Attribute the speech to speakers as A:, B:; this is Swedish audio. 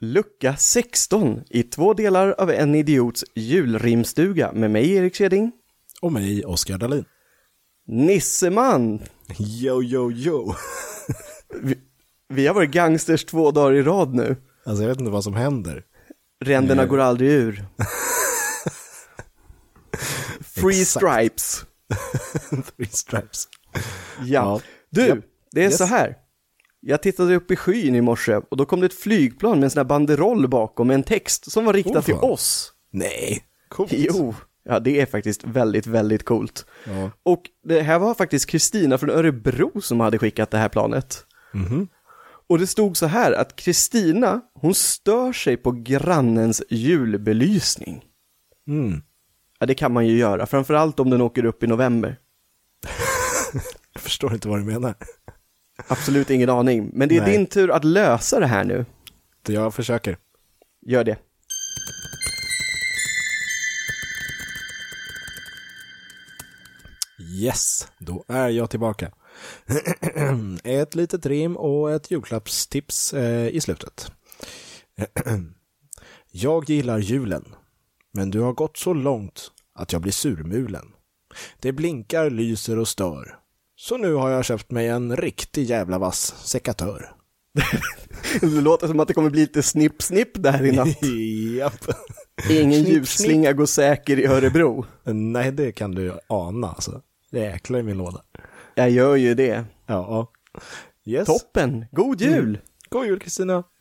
A: Lucka 16 i två delar av en idiots julrimstuga med mig Erik Keding.
B: Och mig, Oskar Dahlin.
A: Nisseman!
B: Yo, yo, yo.
A: Vi, vi har varit gangsters två dagar i rad nu.
B: Alltså jag vet inte vad som händer.
A: Ränderna går aldrig ur. Free
B: Exakt.
A: stripes.
B: Three stripes.
A: Ja.
B: Ja.
A: Du,
B: Japp.
A: det är
B: Yes.
A: så här. Jag tittade upp i skyn i morse och då kom det ett flygplan med en sån här banderoll bakom med en text som var riktad
B: Åh,
A: till
B: fan.
A: oss.
B: Nej. Coolt.
A: Jo, ja det är faktiskt väldigt, väldigt coolt.
B: Ja.
A: Och det här var faktiskt Kristina från Örebro som hade skickat det här planet.
B: Mhm.
A: Och det stod så här att Kristina, hon stör sig på grannens julbelysning.
B: Mm.
A: Ja, det kan man ju göra, framförallt om den åker upp i november.
B: Jag förstår inte vad du menar.
A: Absolut ingen aning, men det är
B: Nej.
A: din tur att lösa det här nu.
B: Det jag försöker.
A: Gör det.
B: Yes, då är jag tillbaka. ett litet rim och ett julklappstips eh, i slutet. jag gillar julen, men du har gått så långt att jag blir surmulen. Det blinkar, lyser och stör. Så nu har jag köpt mig en riktig jävla vass sekatör.
A: Det låter som att det kommer bli lite snipp-snipp där i natt.
B: Japp.
A: Ingen
B: Snipp, snipp.
A: ljusslinga går säker i Örebro.
B: Nej, det kan du ana alltså. Jäklar i min låda.
A: Jag gör ju det.
B: Ja. Yes.
A: Toppen, god jul!
B: God jul Kristina!